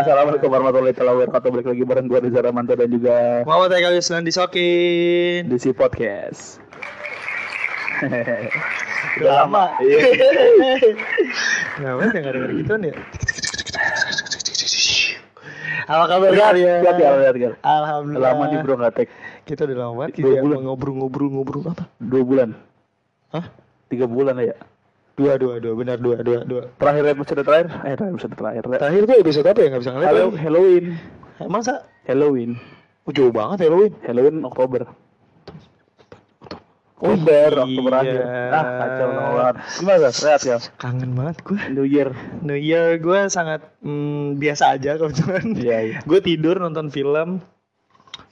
Assalamualaikum warahmatullahi wabarakatuh. Balik lagi bareng gue Reza Ramanto dan juga Muhammad Eka Yuslan disokin. DC Podcast. Udah lama. Iya. Ya, banget yang ada gituan ya. Apa kabar kalian? Lihat ya, lihat ya. Alhamdulillah. Lama nih bro nggak tag Kita udah lama banget Dua kita bulan. ngobrol-ngobrol-ngobrol apa? dua bulan, Hah? tiga bulan ya. Dua, dua, dua. Benar, dua, dua, dua. Terakhir episode terakhir, eh terakhir episode terakhir. Terakhir tuh episode apa ya? Gak bisa ngeliat. Halo, Halloween, Halo. Masa? Halloween, Oh, jauh banget Halloween. Halloween Oktober. Oktober, Oh, Oktober akhir. iya. Ah, kacau lama banget. Gimana? Lihat ya. Kangen banget gue. New Year. New Year gue sangat mm, biasa aja kebetulan. Iya, iya. Gue tidur nonton film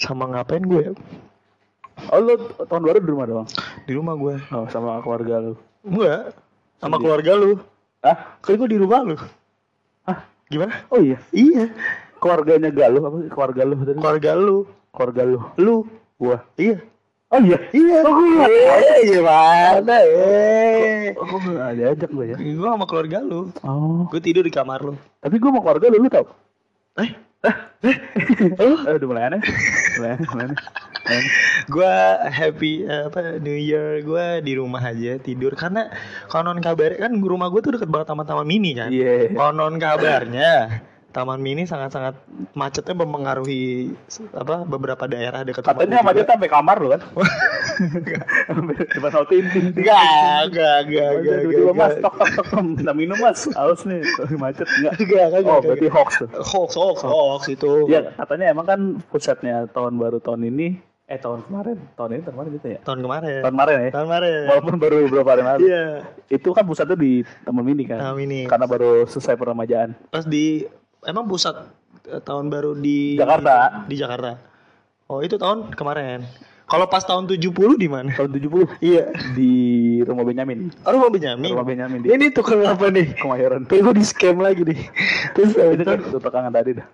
sama ngapain gue ya? Oh lu tahun baru di rumah doang? Di rumah gue. Oh sama keluarga lu? Enggak. Sama keluarga lu. Ah? Kan gue di rumah lu. Ah? Gimana? Oh iya. Iya. Keluarganya Galuh apa sih? keluarga lu tadi? Keluarga lu. Keluarga lu. Lu. Gua. Iya. Oh iya. Iya. Oh, gua nggak tahu. gimana? Eh. Oh, gua nggak diajak lu ya. Gue sama keluarga lu. Oh. Gue tidur di kamar lu. Tapi gua mau keluarga lu lu tau? Eh? Eh, udah mulai aneh. Mulai aneh, mulai aneh. Mulai aneh. gue happy eh, apa New Year gue di rumah aja tidur karena konon kabar kan rumah gue tuh deket banget sama taman mini kan Iya. konon kabarnya taman mini sangat-sangat macetnya mempengaruhi se- apa beberapa daerah dekat rumah Katanya gua sama dia juga. sampai kamar lu kan? Sampai depan sama Tintin. enggak enggak enggak enggak Tiba-tiba enggak Iya. mas, tok tok tok, minta minum mas, haus nih, macet enggak? Enggak, enggak, Oh, enggak, berarti enggak. hoax tuh. hoax hoax hoax itu Ya katanya emang kan pusatnya tahun baru tahun ini eh tahun kemarin tahun ini tahun kemarin gitu ya tahun kemarin tahun kemarin ya tahun kemarin walaupun baru beberapa hari lalu iya itu kan pusatnya di Taman Mini kan Taman Mini. karena baru selesai peremajaan pas di emang pusat eh, tahun baru di Jakarta. di Jakarta oh itu tahun kemarin kalau pas tahun 70 di mana tahun 70 iya di rumah Benyamin Aduh mau Benyamin rumah Benyamin di ini tuh kenapa nih Kemayoran Tapi gue di scam lagi nih Terus itu kan tutup tangan tadi dah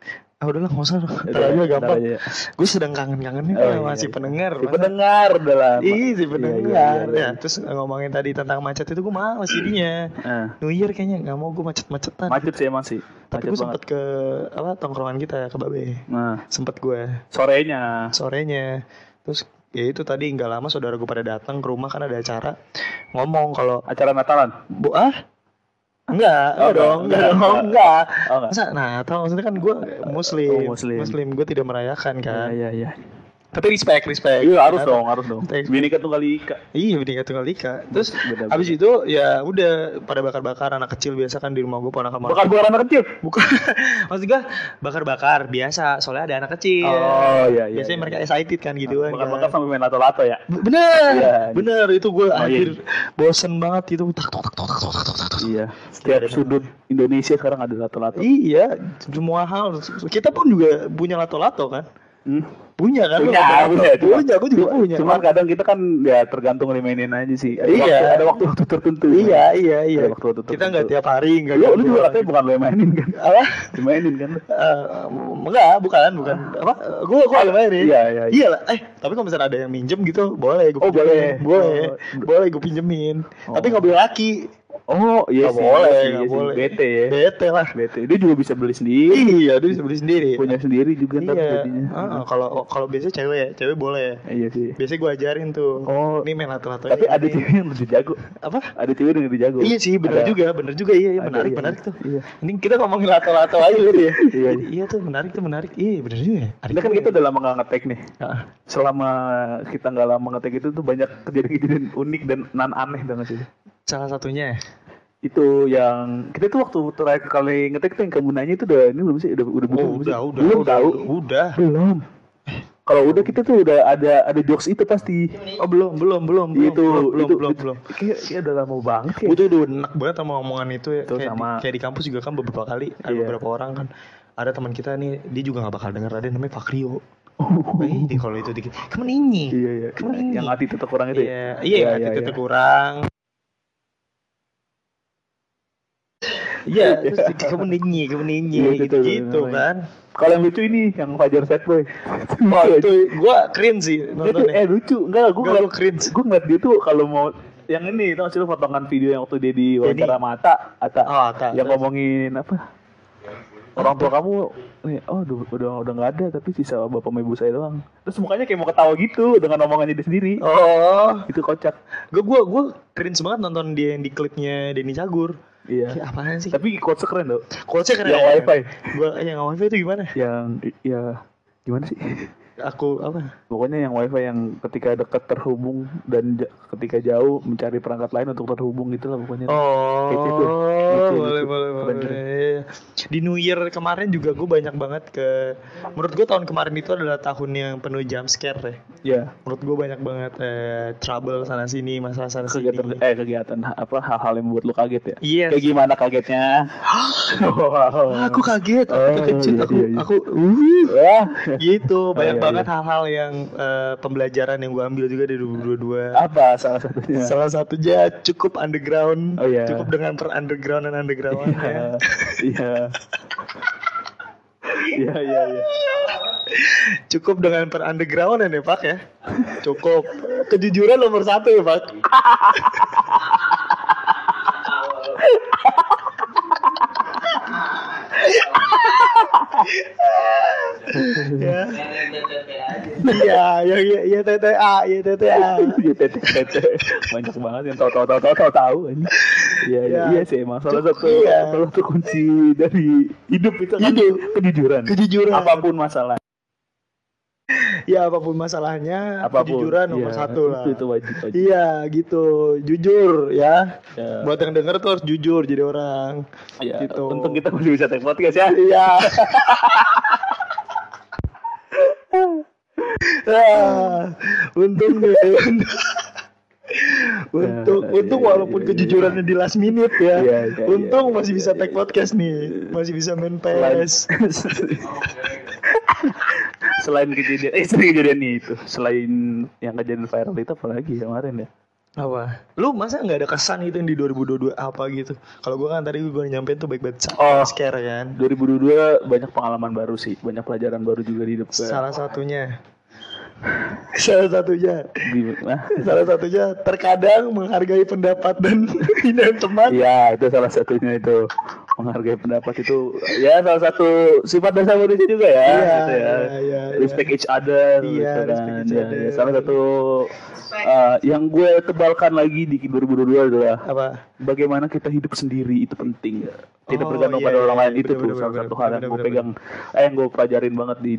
Ah udahlah gak usah Ntar Udah, aja ntar gampang aja ya. Gue sedang kangen-kangennya Oh, sama iya, si iya. pendengar si masa- pendengar udah lama Iya si Iya, pendengar iya, iya. Ya, Terus ngomongin tadi tentang macet itu gue males jadinya Eh, New Year kayaknya gak mau gue macet-macetan macet sih emang sih Tapi macet gue banget sempet ke apa tongkrongan kita ke Babe nah Sempet gue sorenya sorenya terus ya itu tadi nggak lama saudara gue pada datang ke rumah karena ada acara ngomong kalau acara Natalan bu ah enggak Oh, oh, dong enggak, enggak enggak, dong enggak. enggak Oh, enggak. masa nah tahu maksudnya kan gue muslim Oh, muslim. gue tidak merayakan kan iya iya tapi respect respect iya harus Karena- dong harus dong Thanks. Binika tunggal Ika Iya Bhinneka Tunggal Ika Terus Benar-benar. habis itu ya udah pada bakar-bakar anak kecil biasa kan di rumah gue ponakan bukan bukan anak kecil Bukan. Maksud gue bakar-bakar biasa soalnya ada anak kecil. Oh, iya, iya, Biasanya iya. mereka excited kan gitu kan. Bakar-bakar sampai main lato-lato ya. B- Bener, Iya. bener itu gue Oh, akhir iya. bosen banget itu tak tak tak tak tak tak tak tak. Iya. Setiap sudut Indonesia sekarang ada lato-lato. Iya, semua hal kita pun juga punya lato-lato kan? Hmm. Punya kan? lu Punya, lato-lato? punya, cuma- punya, gue juga punya. Cuman kadang kita kan ya tergantung dimainin aja sih. Ada Iya. Waktu, ada waktu waktu tertentu. iya, iya, iya. Ada waktu-waktu Kita tertentu. nggak tiap hari nggak. Iya, Lu, lu ganggu juga orang. katanya bukan lo yang mainin kan? apa? Dimainin kan? Eh, enggak, bukan, bukan. Apa? Gue, gue yang mainin. Iya, iya, iya. Iya lah. Eh, tapi kalau misalnya ada yang minjem gitu, boleh. Gua Oh, pinjemin. boleh. boleh, Oh. boleh gue pinjemin. Oh. Tapi nggak boleh laki. Oh, iya Nggak sih. boleh, iya sih, nggak iya sih. boleh. Bete ya. Bete lah. Bete. Dia juga bisa beli sendiri. Iya, dia bisa beli sendiri. Punya sendiri juga ntar iya. jadinya. Heeh, Kalau kalau biasanya cewek ya, cewek boleh. Iya sih. Biasanya gue ajarin tuh. Oh. Ini main lato-lato. Tapi ya, ada ini. cewek yang lebih jago. apa? Ada cewek yang lebih jago. Iya sih, benar Ada- juga, benar juga iya, iya Ada, menarik, iya. menarik tuh. Iya. Ini kita ngomongin lato-lato aja gitu ya. Iya. Jadi, iya tuh menarik tuh menarik. Iya, benar juga ya. Ada Ini kan juga ya. kita Ah, udah lama nggak ngetek nih. Heeh. selama kita nggak lama ngetek itu tuh banyak kejadian-kejadian unik dan nan aneh banget sih. Salah satunya. ya? Itu yang kita tuh waktu terakhir kali ngetek tuh yang kamu nanya itu udah ini belum sih udah udah belum Oh, sih? udah, udah, belum udah, tahu udah. belum. Kalau udah kita tuh udah ada ada jokes itu pasti Oh, belum, belum, belum, belum, itu belum, belum, itu, belum, itu- belum. Kayak, kayak udah lama banget ya. Gue tuh udah enak banget sama omongan itu ya. Itu kayak, sama. Di, kayak di kampus juga kan beberapa kali ada Iya. beberapa orang kan ada teman kita nih dia juga nggak bakal denger ada namanya Pak Rio. Eh, di kalau itu dikit. Kamu ini. Oh. Iya iya. Kamu ini. Yang hati tetap kurang itu. Iya, ya? iya, yang hati tetap kurang. Iya, terus di- kamu ninyi, kamu ninyi, Iya, gitu, betul, gitu betul. kan. Kalau yang lucu ini yang Fajar Sad Boy. Wah, itu gua keren sih Itu, eh nontonnya. lucu enggak gue Enggak, lu ngeliat cringe. gue ngeliat dia tuh kalau mau yang ini tau sih lu potongan video yang waktu dia di wawancara mata Ata Oh, Atta. yang ngomongin apa orang tua kamu nih, oh udah udah udah nggak ada tapi sisa bapak sama ibu saya doang terus mukanya kayak mau ketawa gitu dengan omongannya dia sendiri Oh, itu kocak gue gue gue cringe banget nonton dia yang di klipnya Denny Cagur. iya Kayak apaan Ya, sih? tapi quotesnya keren tuh Quotesnya keren. yang wifi Gua yang wifi itu gimana? yang ya gimana sih Aku apa? pokoknya yang wifi yang ketika dekat terhubung dan ja- ketika jauh mencari perangkat lain untuk terhubung gitu lah pokoknya Oh, Kayak gitu. Gitu, boleh, gitu. boleh, Keren, boleh. Di New Year kemarin juga gue banyak banget ke. Menurut gue tahun kemarin itu adalah tahun yang penuh jump scare ya. ya Menurut gue banyak banget eh, trouble sana sini, masalah sana sini. kegiatan eh kegiatan apa hal-hal yang membuat lu kaget ya Iya. kayak gimana kagetnya Ah, aku kaget, aku Oh, terkejut, iya, aku, iya, iya. aku, uh, Wah. gitu. Banyak iya, banget hal-hal yang eh, pembelajaran yang gue ambil juga dari 2022. apa salah satunya Salah satunya cukup underground, Iya. Oh, iya. cukup dengan per underground dan ya. underground Iya. Iya. Iya, iya, iya. Cukup dengan per underground ya Pak ya. Cukup. Kejujuran nomor satu ya Pak. ya. Ya, ya, ya, ya, TTA, ya, TTA. Iya, tete, tete. Banyak banget yang tahu tahu tahu tahu tahu tahu ini. Iya, iya, Ya. iya sih, emang salah satu Iya. salah satu kunci dari hidup itu kan Hidup. kejujuran. Kejujuran. Apapun masalah, Ya, apapun masalahnya, apapun. kejujuran nomor Iya, satu lah. Itu, itu wajib, wajib. Iya gitu, jujur ya. Ya. Buat yang denger tuh harus jujur jadi orang. Ya, gitu. Untung kita masih bisa take podcast ya. Iya. Ah, untung deh. untung, Ya, untung iya, walaupun iya, kejujurannya di last minute ya. Iya, iya, untung iya, masih iya, bisa iya, take iya. podcast nih, masih bisa main Selain, PS. selain kejadian, eh selain kejadian itu, selain yang kejadian viral itu apa lagi kemarin ya? Apa? Lu masa nggak ada kesan gitu yang di 2022 apa gitu? Kalau gua kan tadi gue baru nyampein tuh baik-baik Oh. scare kan. 2022 banyak pengalaman baru sih, banyak pelajaran baru juga di hidup gue. Salah satunya. Salah satunya. Di- nah, Salah satunya terkadang menghargai pendapat dan dan teman. Iya, itu salah satunya itu menghargai pendapat itu ya salah satu sifat dasar manusia juga ya. Iya, gitu ya. iya, iya, iya. respect each other. Iya, gitu kan. respect each Ya, other. ya, salah satu eh, yang gue tebalkan lagi di 2022 adalah Apa? bagaimana kita hidup sendiri itu penting tidak Oh, bergantung iya, pada iya, orang iya. lain itu Bener, tuh bener, salah bener, satu hal bener, yang gue bener, pegang eh yang gue pelajarin banget di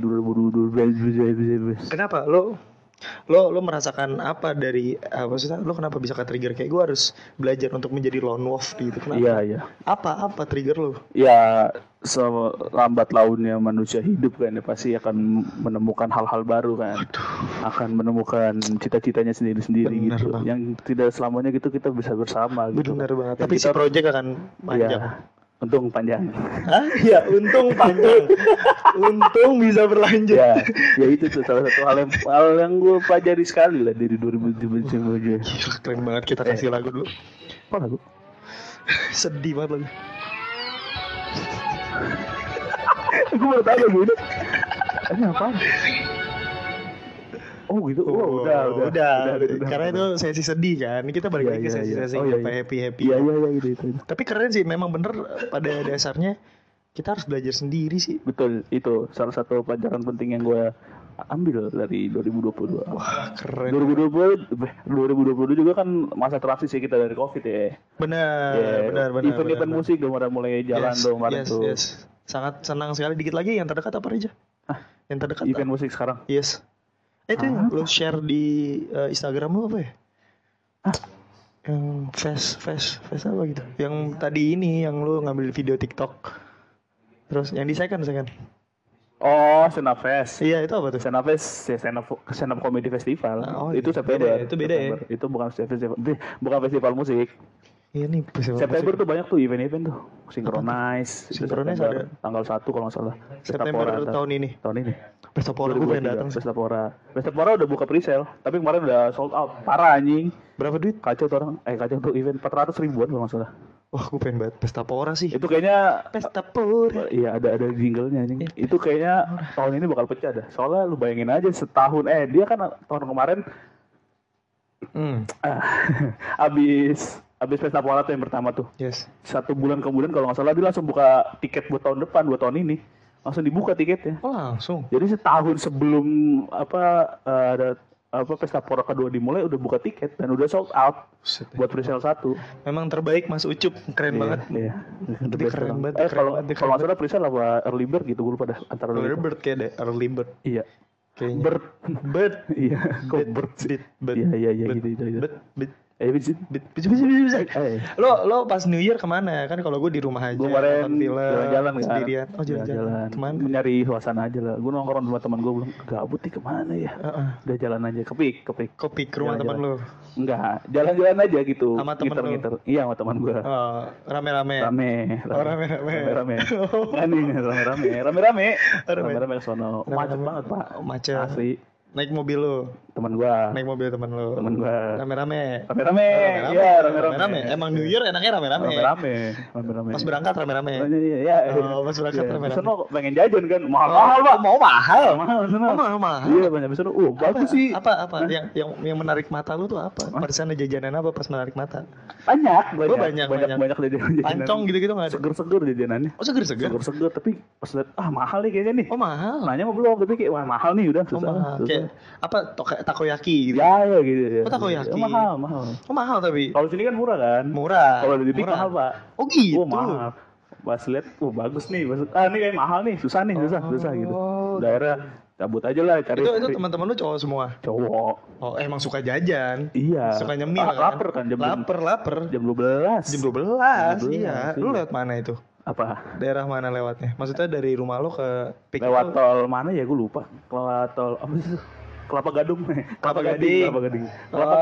2022 Kenapa lo lo lo merasakan apa dari eh, maksudnya lo kenapa bisa ke trigger kayak gue harus belajar untuk menjadi lone wolf gitu kenapa? iya iya Apa apa trigger lo? ya selambat launnya manusia hidup kan ya pasti akan menemukan hal-hal baru kan akan menemukan cita-citanya sendiri-sendiri Bener gitu banget. yang tidak selamanya gitu kita bisa bersama gitu Benar banget. Dan Tapi si kita- project akan panjang. ya, untung panjang Hah? Ya untung panjang. untung bisa berlanjut. ya ya itu tuh salah satu hal yang hal yang gue pelajari sekali lah dari 2017 Gila, keren banget kita Eh. kasih lagu dulu. apa lagu Sedih banget lagu. gue baru tahu lagu ini ini apa oh gitu oh, udah, udah, udah, udah, udah. Karena itu sesi sedih kan. Ini kita balik Iya, lagi ke iya, iya. sesi-sesi Oh, iya, iya. happy-happy. iya iya iya gitu itu Tapi keren sih, memang bener pada dasarnya kita harus belajar sendiri sih. Betul, itu salah satu pelajaran penting yang gue ambil dari 2022. Wah, keren. 2020, 2020 juga kan masa transisi kita dari covid ya. Benar, Ah, Ya, iya, benar, benar. Event-event benar. musik udah mulai mulai jalan Yes, tuh kemarin yes, tuh. yes. Sangat senang sekali dikit lagi yang terdekat apa aja? Hah? Yang terdekat. Ah, Event musik sekarang. apa? Yes. Eh, itu yang lo share di eh, Instagram lo apa ya? Hah? Yang face face face apa gitu? Yang tadi ini yang lo ngambil video TikTok. Terus yang di second second. Oh, Senafest. Iya, itu apa tuh? Senafest, ya Senap, Senap Comedy Festival. Oh, itu iya. September. Beda ya, itu beda ya. September. Itu bukan festival, bukan festival musik. Iya nih, festival September musik. tuh banyak tuh event-event tuh. Synchronize. itu Synchronize September. ada. Tanggal 1 kalau nggak salah. September Pesta Pora, tahun ini. tahun ini. Pestapora gue pengen datang sih. Pestapora. Pestapora udah buka presale, tapi kemarin udah sold out. Parah anjing. Berapa duit? Kacau tuh orang. Eh kacau tuh event 400 ribuan kalau nggak salah. Wah, gue pengen banget Pestapora sih. Itu kayaknya Pestapora. Iya ada ada jinglenya Iya. anjing. Itu kayaknya tahun ini bakal pecah dah. Soalnya lu bayangin aja setahun eh dia kan tahun kemarin Hmm, abis abis pesta pola tuh yang pertama tuh yes. satu bulan kemudian kalau nggak salah dia langsung buka tiket buat tahun depan buat tahun ini langsung dibuka tiketnya Oh langsung. jadi setahun sebelum apa eh, ada apa pesta pora kedua dimulai udah buka tiket dan udah sold out Buset deh. buat presale satu Memang terbaik Mas Ucup, keren banget. Iya. Itu Best keren orang. banget, Eh, keren kalau banget, kalau keren nggak salah presale apa early bird gitu gue lupa dah antara dua Early itu. bird kayak deh, early bird Iya. kayaknya. Bird. Bird. Iya. Kok Bird, bird sih? bird, bird, Iya iya iya bird, gitu gitu. gitu. bird, bird, Eh, bisa- bird, bisa, bisa, bisa, bisa. eh, Lo lo pas New Year kemana? Kan kalau gue di rumah aja. gue kemarin nonton film, jalan-jalan kan. sendirian. Oh jalan-jalan. Kemana? Nyari suasana aja lah. Gue nongkrong sama teman gue belum gabut nih kemana ya. Heeh. Udah jalan aja kepik kepik. Kopi ke rumah teman lo. Jalan-jalan. Enggak, jalan-jalan aja gitu. Sama temen lu? Ngiter-ngiter. Iya sama teman gue. Oh, rame-rame. Rame, Oh, rame-rame. rame-rame. Nggak nih, rame-rame, rame-rame, rame-rame ke sono. Macet Rame-rame. banget pak, Oh, Macet. asli. Naik mobil lo. Teman gua, Naik mobil teman lo. teman gua. Rame-rame. Rame-rame, Rame-rame. iya Rame-rame. rame-rame. Emang New Year enaknya rame-rame. Rame-rame, rame-rame. Pas berangkat rame-rame. Iya, iya, iya. Oh, pas berangkat Iya. rame-rame. Sono pengen jajan kan, mahal pak. mau mahal. Mahal sono. Oh, mahal, mahal. Iya banyak pesan. Oh bagus sih. Apa apa yang yang yang menarik mata lu tuh apa? Pada sana jajanan apa pas menarik mata? Banyak, banyak, Oh, banyak, banyak, banyak, banyak. Iya, jajanan. jajanan. Pancong gitu-gitu enggak ada. Seger-seger jajanannya. Oh, seger-seger. Seger-seger, tapi pas liat, ah mahal nih kayaknya nih. Oh, mahal. Nanya mah belum, tapi kayak wah mahal nih udah Oh, susah. mahal. susah. Kayak apa toke- takoyaki gitu. Ya, ya gitu. Ya. Oh, takoyaki. Ya, mahal, mahal. Oh, mahal tapi Kalau di sini kan murah kan? murah. Kalau di Depik Murah. mahal, Pak. Oh, gitu. Oh, mahal. Pas lihat, oh bagus nih. Pas, ah, ini kayak mahal nih, susah nih, susah, susah gitu. Daerah cabut aja lah cari, Oh. Itu itu cari teman-teman lu cowok semua. cowok. Oh, emang suka jajan. Iya. Suka nyemil Ah, kan? Lapar kan jam Laper, laper. jam 12. Jam 12, 12, iya. Lu iya. lewat mana itu? apa? Daerah mana lewatnya? Maksudnya dari rumah lu ke Pik Lewat itu- tol mana ya gue lupa. Lewat tol apa sih? Kelapa Gadung. Kelapa Gading. Kelapa Gading. Oh, oh, Pulau iya,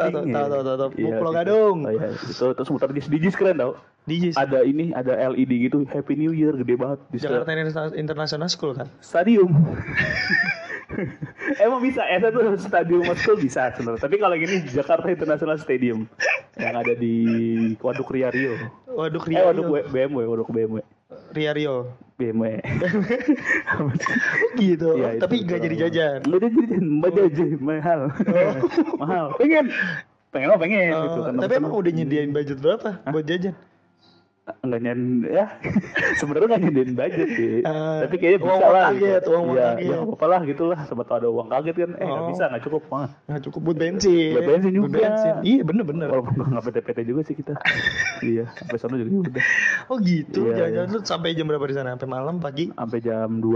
Gading, tahu, iya. tahu, tahu, tahu, tahu. Iya, Pulau gitu. Gadung. Oh, iya. Itu terus muter di Dijis keren tau. di Jis- Ada ini, ada LED gitu, Happy New Year gede banget di Jakarta Interna- International School kan? stadium. Emang bisa, ya tuh stadium Moskow bisa sebenarnya. Tapi kalau gini Jakarta International Stadium yang ada di Waduk Ria Rio. Waduh Eh Ria Waduk Rio. BMW, Waduk BMW. Ria Rio. BMW. gitu. eh. Iya, itu Tapi gak betul. jadi jajan. Oh. Enggak jadi jajan, mbak jajan mahal. mahal. Pengen. Pengen mah pengen Oh, gitu kan. tapi emang udah nyediain budget berapa buat jajan? enggak nyen ya. Sebenarnya enggak nyediain budget sih. Ah, tapi kayaknya uang bisa lah. kaget, uang Iya, kaget. ya apa-apa lah gitu lah. Sempat ada uang kaget kan. Eh enggak Oh. bisa, enggak cukup. Mah. Nah, cukup buat bensin. Buat bensin juga. Iya, bener-bener. Walaupun enggak PT-PT juga sih kita. iya, sampai sana juga udah. Oh gitu, Iya, jalan-jalan lu sampai jam berapa di sana? Sampai malam, pagi, Sampai jam 2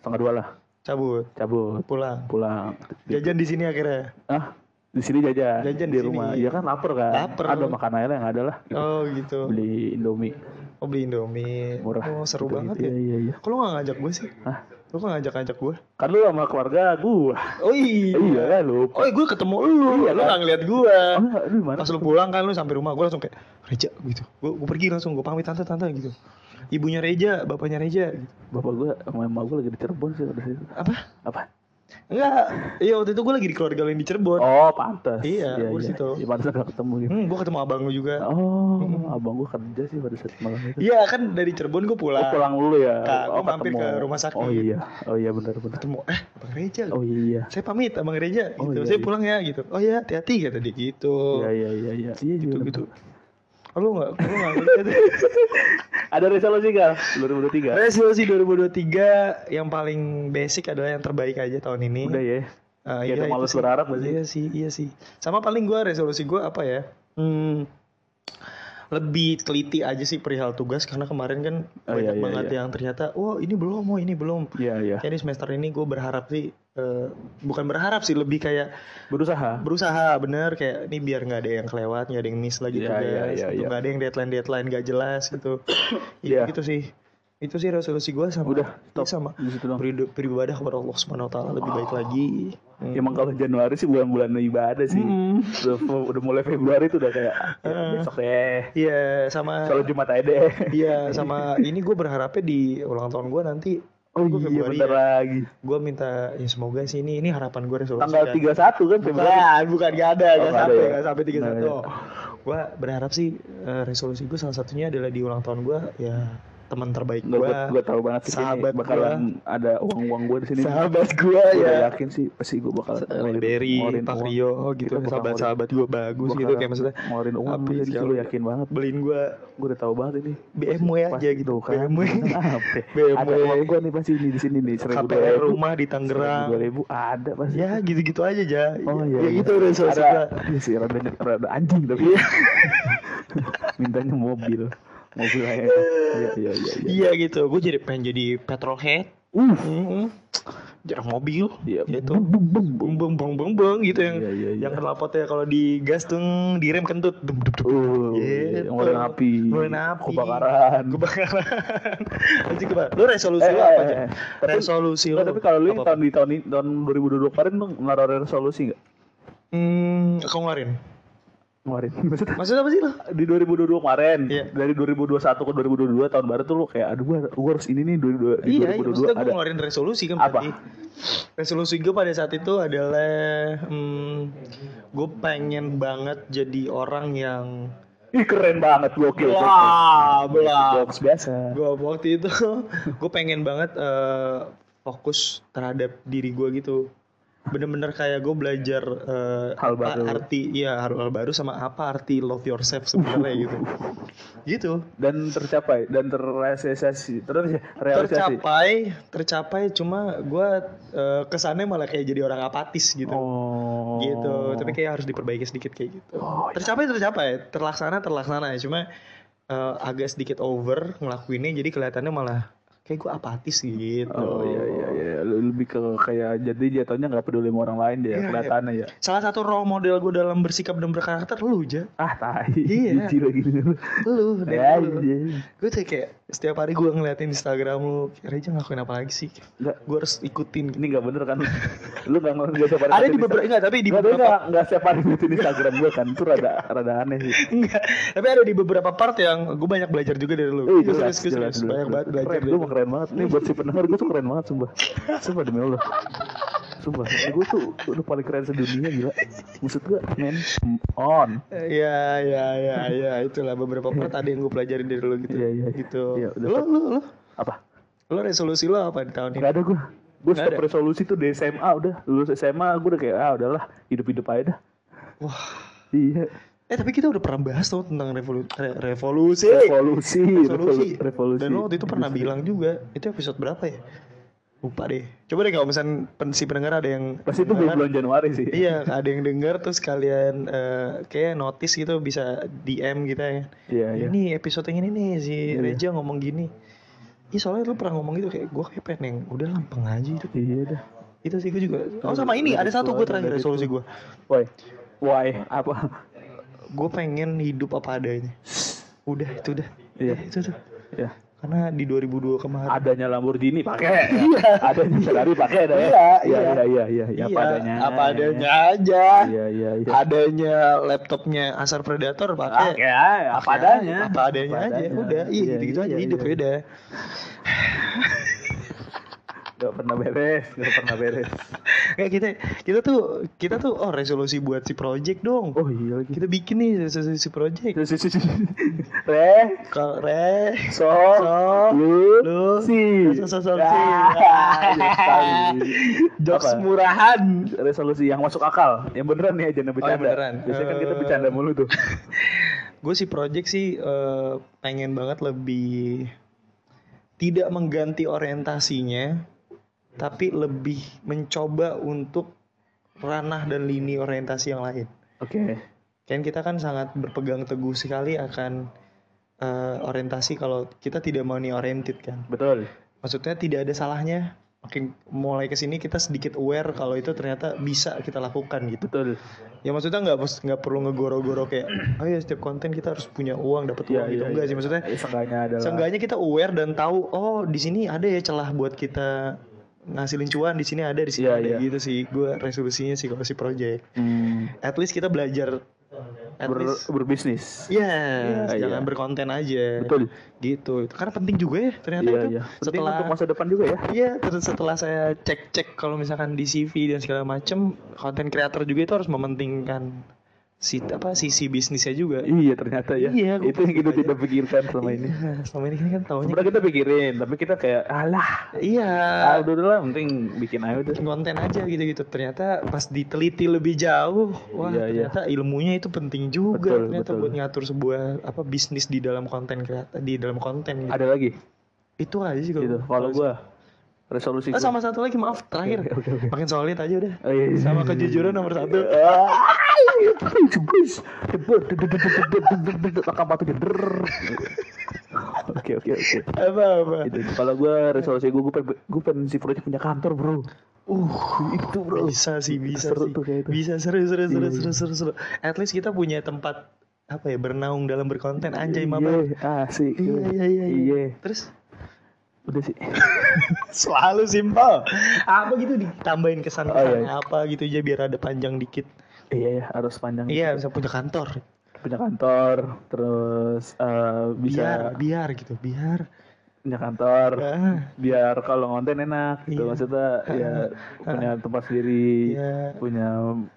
setengah dua lah cabut, cabut pulang. pulang Jajan di sini akhirnya. ah di sini jajan, Jajan di di rumah sini. ya kan lapar kan Lapar. ada makan air yang ada lah Oh gitu. beli indomie Oh beli Indomie. Iya. murah Oh seru banget Gitu-gitu. iya ya. iya iya Kok lu gak ngajak gue sih? Hah? Lu kok ngajak-ngajak gue? kan lu sama keluarga gua Oh iya. iya kan lu Oh gue ketemu lu. Iya, lu kan? gak ngeliat gue. oh, lu di mana Pas lu pulang kan lu sampai rumah gue langsung kayak Reja gitu. Gue gue pergi langsung gue pamit tante tante gitu. Ibunya Reja, bapaknya Reja. Gitu. bapak gua sama emak gua lagi di Cirebon sih udah situ Apa? apa Enggak. Iya waktu itu gue lagi di keluarga lain di Cirebon. oh pantas Iya, gua di situ. Ya, pantas gak ketemu gitu Hmm, gue ketemu abang lu juga. oh abang gua kerja sih pada saat malam itu Iya kan dari Cirebon gue pulang. Oh, pulang dulu ya. Kak, oh, gua mampir ketemu. ke rumah sakit. Oh iya, oh iya benar benar. Ketemu eh abang Reja. Oh iya. Saya pamit abang Reja. Oh, gitu. iya, Saya iya. pulang ya gitu. Oh ya hati-hati kata dia gitu. Iya iya iya iya. Iya gitu juga. gitu. Oh, lu nggak lu nggak ngeliat ya? Ada resolusi gak? 2023. Resolusi 2023 yang paling basic adalah yang terbaik aja tahun ini. Udah ya. Ah, Ya, itu itu males sih. berharap gak sih? Iya sih, iya sih. Sama paling gua resolusi gua apa ya? Hmm, lebih teliti aja sih perihal tugas karena kemarin kan Oh, iya, banyak iya, banget iya. yang ternyata, wah ini belum, oh ini belum. Iya iya. Jadi semester ini gue berharap sih, eh, bukan berharap sih, lebih kayak Berusaha. berusaha bener kayak ini biar nggak ada yang kelewat, nggak ada yang miss lagi Iya, tugas, iya, iya, gitu. iya. nggak ada yang deadline deadline nggak jelas gitu. Itu Iya. Gitu sih. Itu sih resolusi gua sama. Udah, ini stop. sama. Di situ doang. Beridu- Beribadah kepada Allah Subhanahu Wa Taala lebih baik Ah. lagi. Hmm. Ya, Emang kalau Januari sih bulan-bulan ibadah sih. Udah, udah mulai Februari tuh udah kayak ya, besok deh. Iya sama Kalau Jumat aja deh. iya sama ini gue berharapnya di ulang tahun gue nanti Oh Gua iya Februari bentar ya. lagi. gue minta ya semoga sih ini ini harapan gue resolusi Tanggal kan. 31 kan Februari. bukan bukan gak ada Oh, gak nggak ada sampai ya? gak sampai tiga Nggak satu ada. gue berharap sih eh, resolusi gue salah satunya adalah di ulang tahun gue ya teman terbaik Nggak, gue gue gue tahu banget sih kayaknya sahabat bakalan ada uang uang gue di sini. sahabat gue Gue udah ya Eh, yakin sih pasti gue bakal Berry, ngeluarin Pak uang. Rio, oh gitu Kita bakal sahabat-sahabat gue bagus Bakal gitu kayak maksudnya ngeluarin uang Habis ya. gitu, kalau- gue yakin banget. beliin gue Gue udah tahu banget ini. BMW aja Pasti gitu, tuh kan. BMW, Apa? Ada BMW. uang gue nih pasti ini di sini nih. Seribu dua KPR ribu. rumah di Tangerang, Dua ribu ada pasti. ya gitu-gitu aja ja. Oh, ya, iya, iya. gitu udah ada selesai iya sih rada, rada anjing Iya. tapi mintanya mobil mobil aja iya iya iya iya Iya gitu, gue jadi pengen jadi petrolhead, uh mm jarang mobil, iya gitu. bum, bum, bum, bum. beng beng beng beng beng gitu yang Iya, iya, iya. yang kelapotnya kalau digas tuh direm kentut, dum dum dum. Uh, Gitu. ngeluarin api, Ngeluarin api. kebakaran. Kebakaran. Anjing kebakaran. Lu resolusi Eh, lu apa eh, aja? eh. Tapi- Resolusi lu. Nggak, Eh, tapi kalau lu yang apa? tahun di tahun ini tahun 2022 kemarin lu naruh resolusi nggak? Hmm, aku ngeluarin. Kemarin. Maksudnya Maksud apa sih lu? di 2022 kemarin, Iya. dari 2021 ke 2022 tahun baru tuh lu kayak aduh gua, gua harus ini nih 2022, di Iya, iya, 2022 maksudnya gue ada. ngeluarin resolusi kan Apa? berarti. Resolusi gue pada saat itu adalah hmm, gue pengen banget jadi orang yang Ih keren banget gokil. Wah, belah. Box biasa. gue waktu itu gue pengen banget eh, fokus terhadap diri gue gitu bener-bener kayak gue belajar eh, Hal apa baru. arti ya hal, hal baru sama apa arti love yourself sebenarnya gitu gitu dan tercapai dan terrealisasi terus ya, realisasi tercapai tercapai cuma gue eh, kesannya malah kayak jadi orang apatis gitu oh gitu tapi kayak harus diperbaiki sedikit kayak gitu Oh, tercapai tercapai terlaksana terlaksana cuma eh, agak sedikit over ngelakuinnya jadi kelihatannya malah kayak gue apatis gitu oh iya iya iya lebih ke kayak jadi jatuhnya nggak peduli sama orang lain dia Iya, kelihatannya ya Salah satu role model gue dalam bersikap dan berkarakter lu aja, ah tai Iya. jijik lagi gitu. lu dulu dan ya lu. Gue tuh kayak setiap hari gue ngeliatin Instagram lu, kayak Reja ngelakuin apa lagi sih? Nggak. Gue harus ikutin. ini nggak bener kan lu nggak nggak siapa Ada di beberapa enggak, tapi di nggak beberapa nggak nggak siapa ngikutin Instagram gue kan itu rada rada aneh sih enggak. Tapi ada di beberapa part yang gue banyak belajar juga dari lu. Eh, Gue jelas, serius, gue jelas, serius, jelas, banyak banget jelas. belajar. Keren, gue mah keren banget. Nih buat si pendengar gue tuh keren banget, sumpah. Sumpah demi Allah. Sumpah, gue tuh udah paling keren sedunia gila. Maksud gue, men, come on. Iya, iya, iya, iya, itulah beberapa part ada yang gue pelajarin dari lu gitu. Iya, iya, iya. Gitu. Iya, udah. Lu lu lu Apa? lu resolusi lu apa di tahun ini? Gak ada gue. Gue Nggak stop ada. resolusi tuh di SMA udah. Lulus SMA gue udah kayak, ah udahlah, hidup-hidup aja dah. Wah. Iya, Eh, tapi kita udah pernah bahas tau tentang revolu- re- revolusi. revolusi, Eh, resolusi. Iya, revolu- revolusi. Dan lo waktu itu pernah bilang juga, itu episode berapa ya? Lupa deh. Coba deh kalau misalnya pen- si pendengar ada yang Pas itu dengar, bulan Januari sih. Iya, ada yang dengar terus kalian eh, kayak notice gitu bisa DM kita ya. Iya, iya. Ini episode yang ini nih si Reja ngomong gini. Ih soalnya lu pernah ngomong gitu kayak gue kayak pengen udah lempeng aja itu. gitu." Iya dah. Itu sih gue juga. Iya, Oh sama ini ada satu gue terakhir resolusi gue. Woi, why apa? Gue pengen hidup apa adanya. Udah itu udah. Iya. Udah, itu tuh. Ya. Karena di 2002 kemarin adanya Lamborghini pakai adanya Ferrari pakai ada ya Iya, iya iya iya iya iya apa Iya, adanya apa adanya aja. iya iya iya Adanya laptopnya Asar Predator pakai pakai aja, apa Iya, adanya Apa adanya Apa aja. Udah, iya gitu-gitu aja hidup iya. ya udah. Nggak pernah beres nggak pernah beres Kayak kita kita tuh kita tuh oh resolusi buat si project dong. oh iya lagi Kita bikin nih resolusi project. Si, si, si, si. re Kalau re so So, lu lu, si so, so, so, Ah, si. iya sekali. jokes Apa? murahan. Oh, resolusi yang masuk akal yang beneran nih jangan bercanda beneran. biasanya kan kita Eh. bercanda mulu tuh Gue si project sih eh, pengen banget lebih tidak mengganti orientasinya, tapi lebih mencoba untuk ranah dan lini orientasi yang lain. oke Kan kita kan sangat berpegang teguh sekali akan eh, orientasi kalau kita tidak money oriented kan. betul Maksudnya tidak ada salahnya. Makin mulai kesini kita sedikit aware kalau itu ternyata bisa kita lakukan gitu. betul Ya maksudnya nggak pers- nggak perlu ngegoro-goro kayak, oh ya setiap konten kita harus punya uang dapat uang Iya, gitu iya, enggak iya. sih maksudnya. Eh, seenggaknya adalah Seenggaknya kita aware dan tahu, oh di sini ada ya celah buat kita ngasilin cuan di sini ada di sini Iya, ada iya. gitu sih. Gue resolusinya sih kalau si project. Hmm. At least kita belajar. At Ber- least. berbisnis. Iya, Iya, jangan iya. berkonten aja. Betul. Gitu. Karena penting juga ya ternyata Iya, itu. iya. Penting Setelah untuk masa depan juga ya. Iya, terus setelah saya cek-cek kalau misalkan di CV dan segala macem, konten creator juga itu harus mementingkan si apa sisi bisnisnya juga. Iya ternyata ya. Iya, gua itu yang pikir kita aja. tidak pikirkan selama ini. Iya, selama ini kan tahunya Sebenarnya kita pikirin, tapi kita kayak alah. iya Ah, udah udah lah, penting bikin aja udah. konten aja gitu-gitu. Ternyata pas diteliti lebih jauh, wah Iya, iya. ternyata ilmunya itu penting juga Betul, ternyata betul. buat ngatur sebuah apa bisnis di dalam konten kreatif di dalam konten gitu. Ada lagi Itu aja sih gitu. Kalau gua resolusi Ah, gua. sama satu lagi maaf terakhir. Oke, oke, oke. Makin solid aja udah. Oh, iya. Sama kejujuran nomor satu. Oke oke oke. apa apa. Itu. Kalau gue resolusi gue gue pengen, gue pengen si Project punya kantor bro. Uh itu bro. Bisa sih, bisa Seru sih. tuh kayak itu. Bisa seru seru seru Iya, seru seru seru. At least kita punya tempat apa ya bernaung dalam berkonten anjay mama. Iya asik. Iya iya iya. iya. Iya. Terus Udah sih. selalu simpel. Apa gitu ditambahin kesan kesan Oh, iya. apa gitu aja biar ada panjang dikit. Iya iya, harus panjang. Iya, bisa punya kantor. Punya kantor terus eh, bisa Biar biar gitu, biar. punya kantor. Ah, biar kalau ngonten enak gitu Iya. maksudnya ya punya tempat sendiri Iya. punya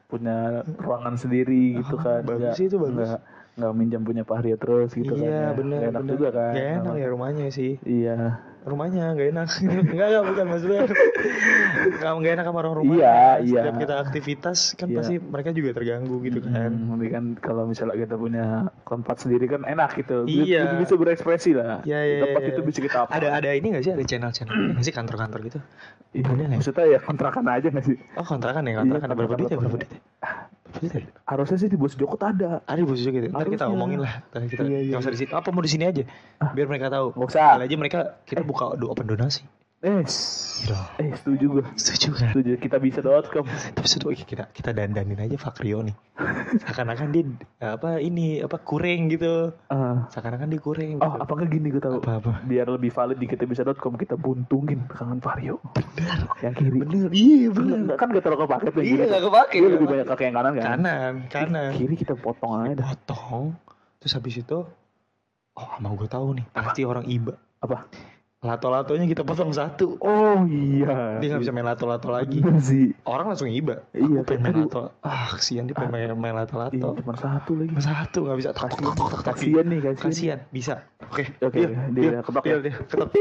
punya ruangan sendiri gitu Ah, kan bagus sih itu, bagus. nggak nggak minjam punya Pak Arya terus gitu kan iya, ya. benar. Nggak enak benar. juga kan Nggak enak emang. ya rumahnya sih. iya rumahnya nggak enak nggak nggak bukan maksudnya nggak nggak enak sama orang rumah Iya, iya. setiap kita aktivitas kan Iya. pasti mereka juga terganggu gitu kan Hmm, tapi kan kalau misalnya kita punya tempat sendiri kan enak gitu Bi- Iya. bi- bisa berekspresi lah Iya, iya, tempat iya, itu iya. bisa kita apa ada ada ini nggak sih ada channel channel nggak sih kantor-kantor gitu Iya. ada nggak maksudnya ya kontrakan aja nggak sih oh kontrakan ya kontrakan Iya, ada berapa duit ya kontrakan. berapa duit ya? Berapa duit ya? harusnya sih di bos Joko tuh ada ada bos juga gitu ntar kita Harusnya. omongin lah ntar kita Iya, iya, Ah. nggak usah di sini apa mau di sini aja biar mereka tahu Nggak usah. Kali aja mereka kita buka do open donasi eh Gila. eh setuju gue setuju kan setuju kita bisa dot Tapi sudah oke, kita kita dandanin aja Fakrio nih. Seakan-akan dia apa ini apa kuring gitu. Seakan-akan dia kuring. Eh, Oh, apa enggak gini gue tahu. Apa-apa? Biar lebih valid ya, di kitabisa.com kita buntungin kangen Vario. Benar. Yang kiri. bener, iya bener. Enggak kan gak terlalu kepake tuh. yang Iya, kiri nggak tuh. kepake, Dia nggak lebih banyak kakek yang kanan kan. Kanan, kanan. Kiri kita potong aja dah. Potong. Terus habis itu, oh sama gue tahu nih, pasti orang iba. Apa? Lato-latonya kita potong satu. Oh iya. Dia nggak bisa main lato-lato lagi. Bener sih. Orang langsung iba. Aku Iya, pengen main aduh. lato. Ah, kesian dia pengen main, main Iya, lato-lato. cuma satu lagi. Cuma Satu nggak bisa. Kasian, kasian nih, kasian. kasihan bisa oke Oke, deal, dia deal, ketok deal, ya? deal, ketok oke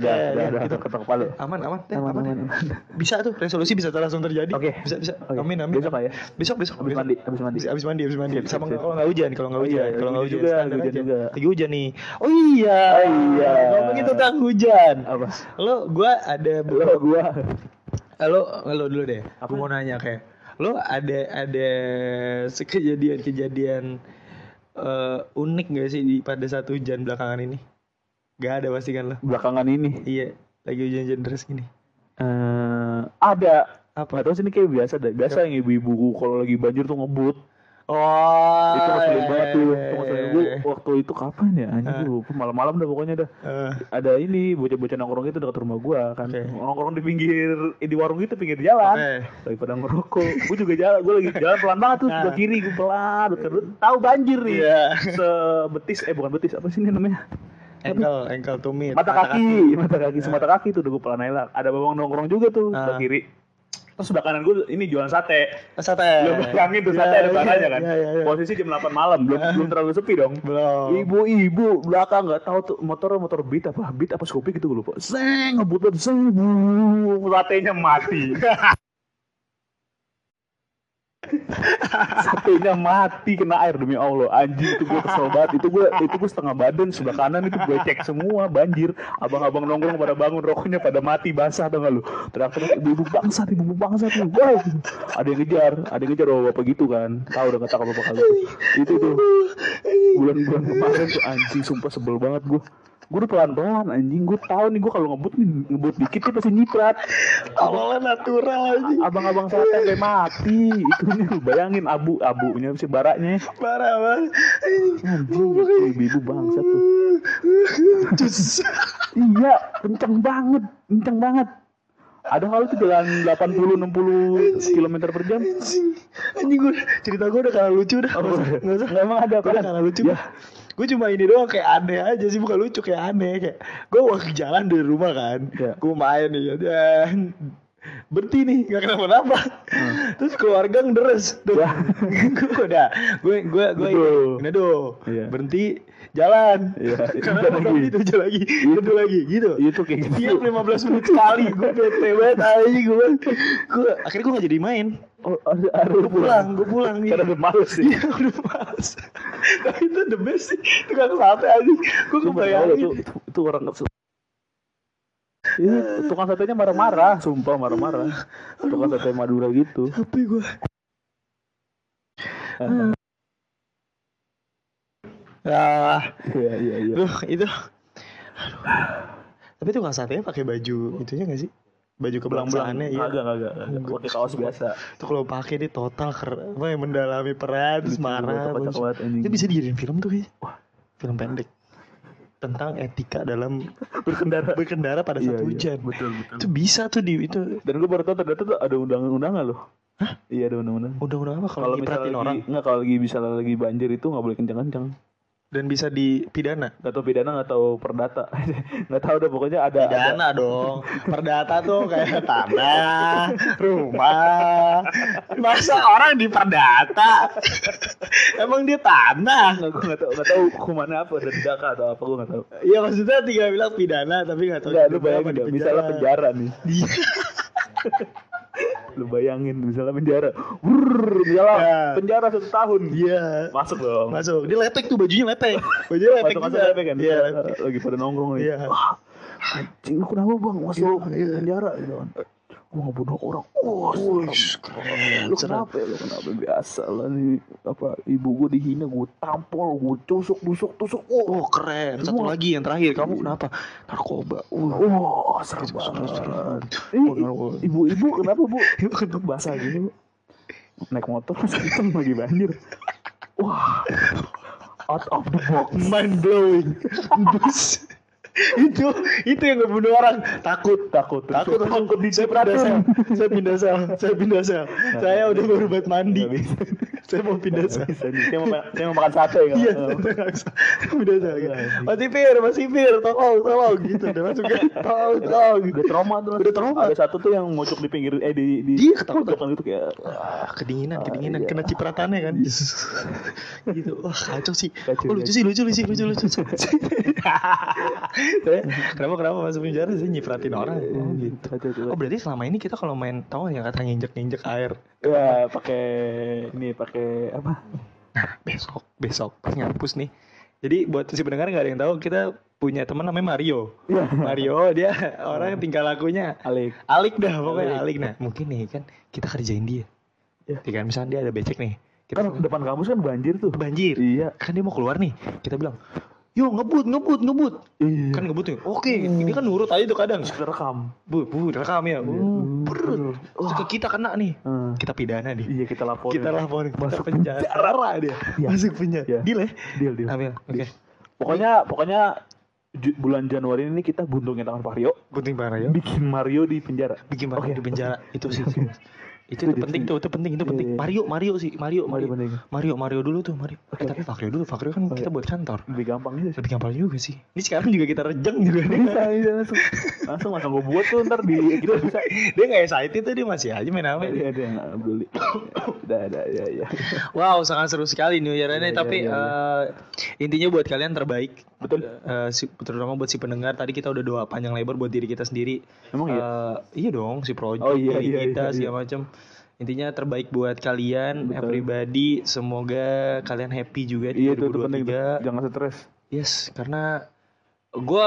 oke, dah, deal, dah, dah, gitu. ketok kepala. aman aman deh, Aman, aman, aman, deh. aman. bisa tuh resolusi bisa langsung terjadi Oke. bisa bisa Oke. amin amin Besok lah ya? besok besok Habis mandi, habis mandi. habis mandi habis mandi Sip, sama sip, nggak- sip. kalau nggak hujan kalau nggak Oh hujan iya, kalau nggak hujan hujan juga, standar hujan aja. juga. lagi hujan nih oh iya Oh iya. Oh. ngomongin tentang hujan Apa? lo gua ada Lo gua. lo lo dulu deh aku mau nanya kayak lo ada ada se- kejadian-kejadian eh, unik gak sih di pada satu hujan belakangan ini gak ada pasti kan lo Belakangan ini. iya lagi hujan-hujan deras gini Eh, ada Apa? Nggak tahu sih ini kayak biasa deh. Biasa yang ibu-ibu kalau lagi banjir tuh ngebut. oh itu ngeselin banget iya, tuh. Itu ngeselin. iya, Gue iya. Ah. waktu itu kapan ya? Anjir, gue lupa. malam-malam dah pokoknya dah. Eh, Ada ini bocah-bocah nongkrong gitu dekat rumah gua kan. Oke. Nongkrong di pinggir eh, di warung gitu pinggir jalan. Oke. Lagi pada ngerokok. gue juga jalan, gue lagi jalan pelan banget tuh Nah. ke kiri, gue pelan, terus tahu banjir nih. Iya. Sebetis eh bukan betis, apa sih ini namanya? ankle ankle tumit mata kaki, mata kaki, semata kaki tuh udah gue pelan aja lah. Ada bawang nongkrong juga tuh Nah. Ah. sebelah kiri. Terus sebelah kanan gue ini jualan sate. Eh, sate Belum bayangin tuh sate ada barangnya kan. iya, iya, iya. Posisi jam 8 malam, belum belum terlalu sepi dong. belum Ibu-ibu belakang nggak tahu tuh motor motor beat apa beat apa Scoopy gitu gue lupa. Seng ngebut banget, seng buuuuh, satenya mati. satenya mati kena air demi Allah anjing itu gue kesel banget itu gue itu gue setengah badan sebelah kanan itu gue cek semua banjir abang-abang nongkrong pada bangun rokoknya pada mati basah tau gak lu teriak-teriak ibu-ibu bangsat ibu-ibu bangsat nih wow ada yang ngejar ada yang ngejar bapak-bapak gitu kan tahu udah kata bapak kali itu itu tuh bulan-bulan kemarin tuh anjing sumpah sebel banget gue gue udah pelan-pelan anjing gue tahu nih gue kalau ngebut nih ngebut dikit dia pasti nyiprat awalnya natural aja abang-abang sate sampai mati itunya lu bayangin abu abunya si baraknya parah banget anjing itu ibu-ibu bangsat tuh Cus. iya kenceng banget kenceng banget ada hal tuh jalan 80 60 km per jam anjing anjing gue cerita gue udah kalah lucu dah Apa? nggak usah Emang ada gue udah apaan? kalah lucu Ya. gue cuma ini doang kayak aneh aja sih bukan lucu kayak aneh kayak gue waktu jalan dari rumah kan Ya. gue main nih ya, dan berhenti nih nggak kenapa-napa Hmm. terus keluarga ngeres tuh Wah. gue udah gue gue gue Ya. Betul. ini do Iya. berhenti jalan Iya, itu karena gitu. jalan lagi lagi. Iya. itu jalan lagi itu lagi gitu Itu kayak gitu. tiap 15 menit sekali gue bete banget aja gue gue akhirnya gue nggak jadi main Oh, ada, ada lu gue pulang gue pulang nih Karena udah males sih. Iya udah males Tapi itu the best sih Tukang sate aja Gue Lu bayangin itu, kebayangin itu, itu orang Iya, tukang satenya marah-marah, sumpah marah-marah. Tukang sate Madura gitu. Tapi gue Ah, Iya, iya, iya. Duh itu Aduh. Tapi tukang satenya pakai baju Itunya gak sih? Baju kebelang-belangannya iya. Agak, agak, agak. Pakai kaos biasa. Itu kalau pakai dia total keren Wah, Mendalami peran Terus Lucu banget, marah kocak bagus. banget, anjing. Itu bisa dijadiin film tuh kayaknya Film pendek Tentang etika dalam Berkendara. Berkendara pada Iya, saat iya. hujan Betul, betul. Itu bisa tuh di itu Dan gue baru tau ternyata tuh ada undangan-undangan loh. Hah? Iya ada undang-undang. Undang-undang apa Oh, kalau Kalau misalnya ngipratin orang orang nggak kalau lagi bisa lagi banjir itu nggak boleh kencang-kencang. dan bisa dipidana? Gak tau pidana nggak tau perdata. nggak tau udah pokoknya ada. ada- Pidana dong. Perdata tuh kayak tanah, rumah. Masa orang di perdata? Emang dia tanah? Nggak gue nggak tahu nggak tahu hukumannya apa denda kah atau apa gue nggak tahu. Iya maksudnya tinggal bilang pidana tapi nggak tahu. Enggak, lu di penjara apa di bayangin dong, misalnya penjara nih. Iya. Lu bayangin misalnya penjara. Wurr, misalnya Ya. penjara satu tahun. Iya. Masuk dong. Masuk. Dia lepek tuh bajunya lepek. Bajunya lepek Masuk-masuk juga. lepek kan. Iya. lepek. Lagi pada nongkrong nih. Iya. Wah, Anjing lu kenapa bang masuk penjara gitu kan. Gue ngebunuh orang. Wah, serem. Serem. lu kenapa ya? lu kenapa biasa lah nih apa ibu gue dihina gue tampol gue tusuk tusuk tusuk wah Oh keren. Satu Wah. lagi yang terakhir. Kamu kenapa? Narkoba. Wah. wah serem banget Eh, ibu-ibu kenapa bu ibu kenapa basah gini bu naik motor sekarang lagi banjir wah out of the box mind blowing Bus. itu itu yang ngebunuh orang takut takut takut langsung takut Nah, saya pindah sel saya pindah sel saya pindah sel saya udah baru buat mandi saya mau pindah sel dia mau ma- dia mau makan sate kan iya saya nggak bisa. pindah sel mas sipir mas sipir tolong tolong gitu udah masuk kan tolong tolong udah trauma terus Udah trauma. ada satu tuh yang mojok di pinggir eh di di Dia ketakutan. pojokan gitu kayak Ah, kedinginan, iya. kedinginan, kena cipratannya kan. gitu. Wah, kacau sih. Kacau, oh, lucu sih, lucu sih, lucu lucu. Saya, kenapa kenapa masuk penjara sih nyipratin orang? Iya, eh, Oh, gitu. Kacau, kacau. Oh, berarti selama ini kita kalau main tahu nggak yang kata nginjek-nginjek air. ya pakai ini pakai apa Nah, besok, besok pas ngampus nih. Jadi buat si pendengar nggak ada yang tahu kita punya teman namanya Mario. Iya. Mario dia orang yang tingkah lakunya alik Alik dah pokoknya Alik. Nah, mungkin nih kan kita kerjain dia. Iya. Ya. kan misalnya dia ada becek nih. Kita kan depan kampus kan banjir tuh banjir. iya Kan dia mau keluar nih. Kita bilang, "Yo, ngebut, ngebut, ngebut." iya Kan ngebut nih. Oke, ini kan nurut aja tuh kadang. rekam Bu, bu, rekam Iya, ya. Bu, perut. Terus ke kita kena nih. Hmm. Kita pidana dia. iya kita laporin Kita laporin Masuk masuk penjara. dia. Iya. Masuk penjara. Iya. Deal ya? deal deal Ambil. Oke. Pokoknya pokoknya Ju- bulan Januari ini kita buntungin tangan Mario, Penting banget ya. bikin Mario di penjara. Bikin banget Oke. di penjara. Itu sih. Itu, Itu itu penting tuh, jadi- itu penting, itu Iya, penting. iya. Mario, Mario sih, Mario, Mario Mario, penting. Mario, Mario dulu tuh, Mario. Eh, tapi Fakrio dulu, Fakrio kan kita buat kantor. Lebih gampang gitu sih. Lebih gampang juga sih. Ini sekarang juga kita rejeng juga. nih. Bisa, bisa langsung. Langsung langsung gue buat tuh ntar di Iya, kita bisa. dia nggak excited tuh dia masih aja main apa Iya, ada yang beli. Udah, ada, ya, ya. wow sangat seru sekali New Year ini Iya, tapi iya, eh, intinya buat kalian terbaik Betul. Eh, si, terutama buat si pendengar tadi kita udah doa panjang lebar buat diri kita sendiri Emang iya? Eh, iya dong si project Oh, iya, diri iya, kita iya, segala macam intinya terbaik buat kalian Betul. everybody semoga kalian happy juga di Iya, itu, itu penting. tuh. 2023 Jangan stres. Yes, karena gue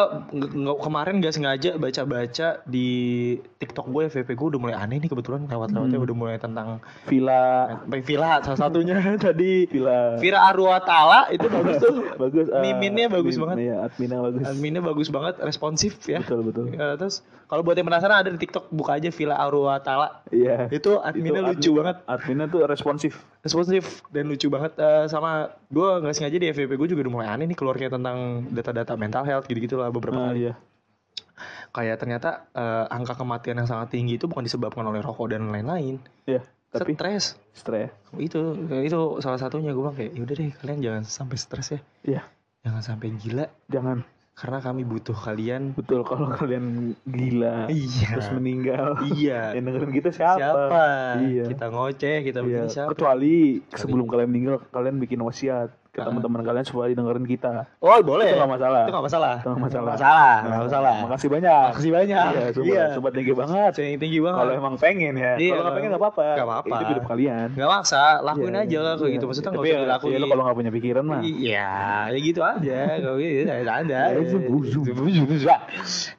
kemarin gak sengaja baca-baca di TikTok gue FVP gue udah mulai aneh nih kebetulan lewat-lewatnya Hmm. udah mulai tentang Villa, Vila salah satunya tadi Villa. Vira Arwatala itu bagus tuh bagus. eh, Miminnya bagus mim- banget. Iya, adminnya bagus. adminnya bagus banget responsif ya Betul, betul. Eh, terus kalau buat yang penasaran ada di TikTok buka aja Vila Arwatala Iya. itu adminnya Itu lucu admin- banget Adminnya tuh responsif. responsif dan lucu banget Eh, sama gue nggak sengaja di FVP gue juga udah mulai aneh nih keluarnya tentang data-data mental health gitu-gitu lah beberapa Ah, kali iya. kayak ternyata eh, angka kematian yang sangat tinggi itu bukan disebabkan oleh rokok dan lain-lain Iya, tapi ya. stres stres. itu itu salah satunya gue bilang kayak yaudah deh kalian jangan sampai stres ya Iya, jangan sampai gila jangan. karena kami butuh kalian Betul kalau kalian gila iya terus meninggal. iya Yang dengerin kita siapa? siapa Iya. kita ngoceh kita Iya. begini siapa Kecuali sebelum kalian meninggal kalian bikin wasiat ke Ah. teman-teman kalian supaya dengerin kita. oh boleh Itu nggak masalah. itu nggak masalah Itu Nggak nggak masalah. masalah nggak Nah, masalah Makasih banyak. makasih banyak Iya, sobat, sobat tinggi banget. yang tinggi banget Kalau emang pengen ya. Iya, kalau nggak kalau- pengen nggak apa-apa. nggak apa-apa. Itu hidup kalian. nggak maksa lakuin Iya, aja lah kayak iya. gitu maksudnya nggak Tapi usah ya, dilakuin ya lu kalau nggak punya pikiran mah. Iya, ya gitu aja. Kalau gitu ya ada. Ya, zubu, zubu,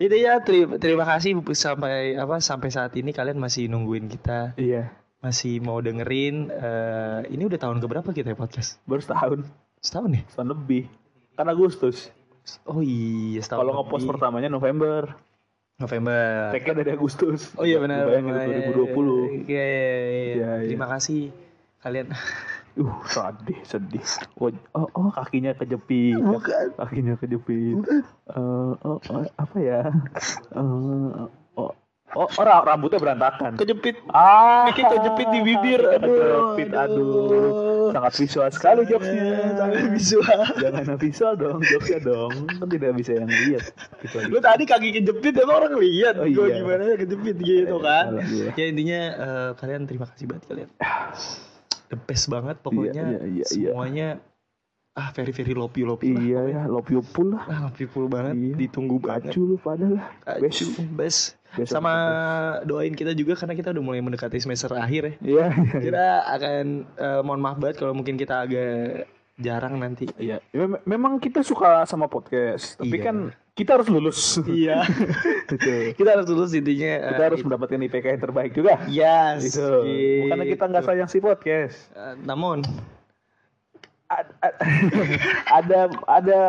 Itu ya terima, terima kasih sampai apa sampai saat ini kalian masih nungguin kita, Iya. masih mau dengerin. eh, ini udah tahun keberapa kita ya podcast? Baru setahun, Setahun ya? nih. setahun lebih. Kan Agustus. Oh iya, setahun. Kalau ngepost lebih. pertamanya November, November. tag dari Agustus. Oh iya benar. Lu Bayangin benar. itu Iya, iya, iya. Iya, iya. Terima kasih kalian. 2020. Uh, sedih, sedih. Oh, oh, oh, kakinya kejepit. Bukan. Kakinya kejepit. Eh, oh, oh, apa ya? Eh, oh, oh, oh, ra- rambutnya berantakan. Kejepit. Ah, Bikin kejepit di bibir. Ah, Aduh, Kejepit, aduh. aduh. Sangat visual sekali jokesnya. Sampai visual. Jangan visual dong, jokesnya dong. Kan tidak bisa yang lihat. Kecuali- lu tadi kaki kejepit emang orang lihat Oh, gua iya. gimana kejepit gitu kan Salah gua. ya intinya eh, kalian terima kasih banget kalian the best banget pokoknya Iya, iya, iya, iya. semuanya ah very very lopi lopi lah Iya ya, love you pun lah. ah lopi full banget Iya. ditunggu banget Kacu lu pada lah. Acu, Best. best. Best sama doain kita juga karena kita udah mulai mendekati semester akhir ya Iya, iya. iya. kita akan eh, mohon maaf banget kalau mungkin kita agak jarang nanti Iya, mem- memang kita suka sama podcast, tapi Iya. kan kita harus lulus. iya Gitu. kita harus lulus intinya eh, Kita harus mendapatkan IPK yang terbaik juga. Iya, yes Gitu. Karena kita nggak gitu. sayang si podcast. Eh, namun A- a- ada ada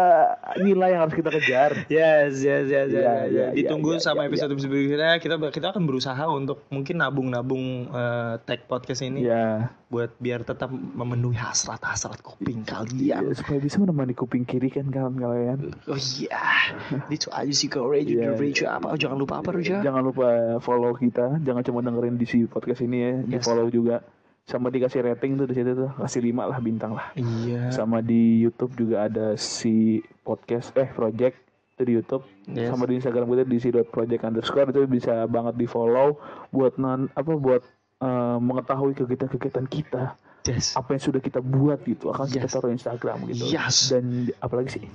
nilai yang harus kita kejar. Yes, yes, yes, yes, Iya, yes, iya, yes. Ditunggu iya, sama iya, episode episode berikutnya. Kita kita akan berusaha untuk mungkin nabung-nabung eh, tag podcast ini Iya. buat biar tetap memenuhi hasrat-hasrat kuping Iya, kalian. supaya bisa menemani kuping kiri kan kawan kalian. Oh iya, itu aja sih kau radio Iya, radio apa? Oh, jangan lupa apa Reja? Jangan lupa follow kita, jangan cuma dengerin di si podcast ini ya, di Yes. follow juga. Sama dikasih rating tuh di situ tuh, kasih lima lah bintang lah. Iya. Sama di YouTube juga ada si podcast eh project itu di YouTube. Yes. Sama di Instagram kita di si project underscore itu bisa banget di follow buat non apa buat eh, mengetahui kegiatan-kegiatan kita Yes. apa yang sudah kita buat gitu akan kita Yes. taruh Instagram gitu Yes. Eh, dan di- apalagi sih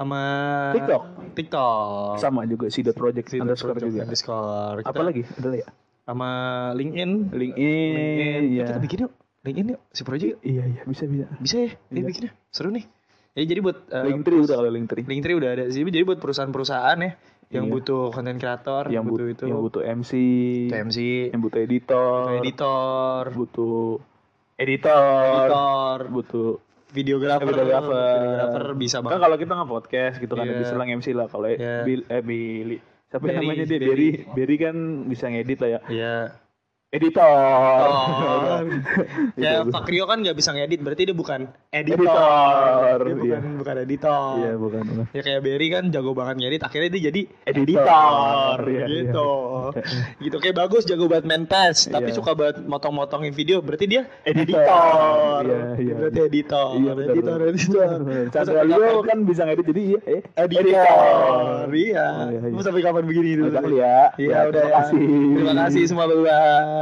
Sama TikTok. TikTok. sama juga si dot project Kita underscore project juga underscore. Kita apalagi ada ya Sama LinkedIn. LinkedIn Eh, iya Kita bikin yuk. LinkedIn yuk. Si Project yuk. iya iya bisa bisa bisa ya dia Iya. bikinnya seru nih ya jadi buat eh, Linktree udah kalau Linktree Linktree udah ada sih jadi buat perusahaan-perusahaan ya yang Iya. butuh konten kreator yang butuh butuh itu yang butuh MC TMC yang butuh editor butuh editor butuh editor editor butuh videografer videografer. videografer bisa kan banget kalau kita nggak podcast gitu kan Iya. bisa lah MC lah kalau Iya. Bill eh Billy siapa Barry, namanya dia Barry. Berry Berry kan bisa ngedit lah ya ya editor Oh. ya Itu. Pak Rio kan nggak bisa ngedit berarti dia bukan editor, Editor, Dia bukan bukan editor Iya bukan bukan. ya kayak Berry kan jago banget ngedit akhirnya dia jadi Editor. editor, Iya, gitu gitu kayak bagus jago banget main pes tapi Iya. suka banget motong-motongin video berarti dia Editor. editor Iya, iya. berarti editor Iya benar. Oh, editor benar. editor Benar, benar. Terus Chandra sampai Leo kapan- kan bisa ngedit jadi iya, eh, editor iya Iya, iya. Terus sampai kapan begini itu Udah kali ya. Iya udah Terima kasih. Terima kasih semua berdua.